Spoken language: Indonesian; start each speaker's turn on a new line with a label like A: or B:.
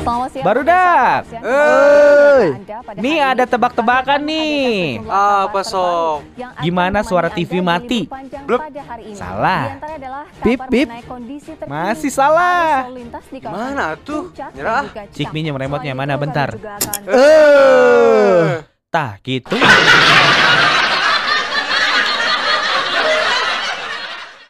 A: Selamat siang.
B: Baru
A: Selamat
B: dak.
A: siang.
C: Hey.
A: Anda pada
B: Nih
A: hari
B: ada
A: ini
B: tebak-tebakan
A: akan
B: nih.
A: menghadirkan sejumlah
C: Apa,
A: kabar
C: Sob?
A: terbaru yang akan
B: Gimana
A: menemani
B: suara
A: Anda
B: TV
A: di libur
B: mati?
A: panjang
C: Blep.
A: pada hari ini.
B: Salah.
A: Di antara adalah kabar
B: Pip, pip.
A: mengenai kondisi terkini
B: Masih
A: arus
B: salah.
A: lalu lintas di kawasan
C: Gimana tuh?
A: Puncak dan
C: Nyerah. Eh.
A: juga
B: Cik
A: Cikampek.
B: minjem remote-nya,
A: Selain
B: mana?
A: itu, kami
B: Bentar.
A: juga akan-
B: Eh. Tah gitu.